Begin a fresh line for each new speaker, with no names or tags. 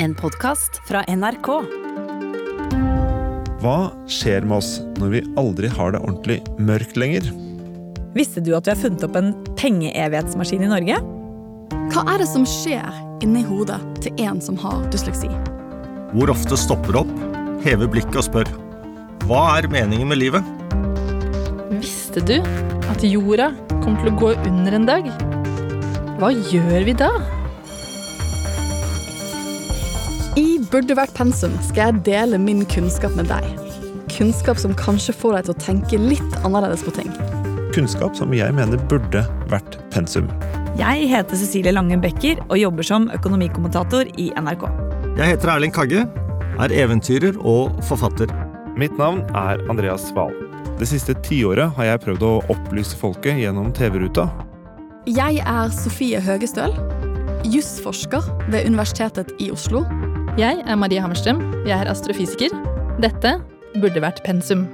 En podkast fra NRK.
Hva skjer med oss når vi aldri har det ordentlig mørkt lenger?
Visste du at vi har funnet opp en pengeevighetsmaskin i Norge?
Hva er det som skjer inni hodet til en som har dysleksi?
hvor ofte stopper opp, hever blikket og spør Hva er meningen med livet?
Visste du at jorda kommer til å gå under en dag? Hva gjør vi da?
I Burde vært pensum skal jeg dele min kunnskap med deg. Kunnskap som kanskje får deg til å tenke litt annerledes på ting.
Kunnskap som jeg mener burde vært pensum.
Jeg heter Cecilie Lange Becker og jobber som økonomikommentator i NRK.
Jeg heter Erling Kagge, er eventyrer og forfatter.
Mitt navn er Andreas Wahl. Det siste tiåret har jeg prøvd å opplyse folket gjennom TV-ruta.
Jeg er Sofie Høgestøl, jusforsker ved Universitetet i Oslo.
Jeg er Marie Hammerstrøm. Jeg er astrofysiker. Dette burde vært pensum.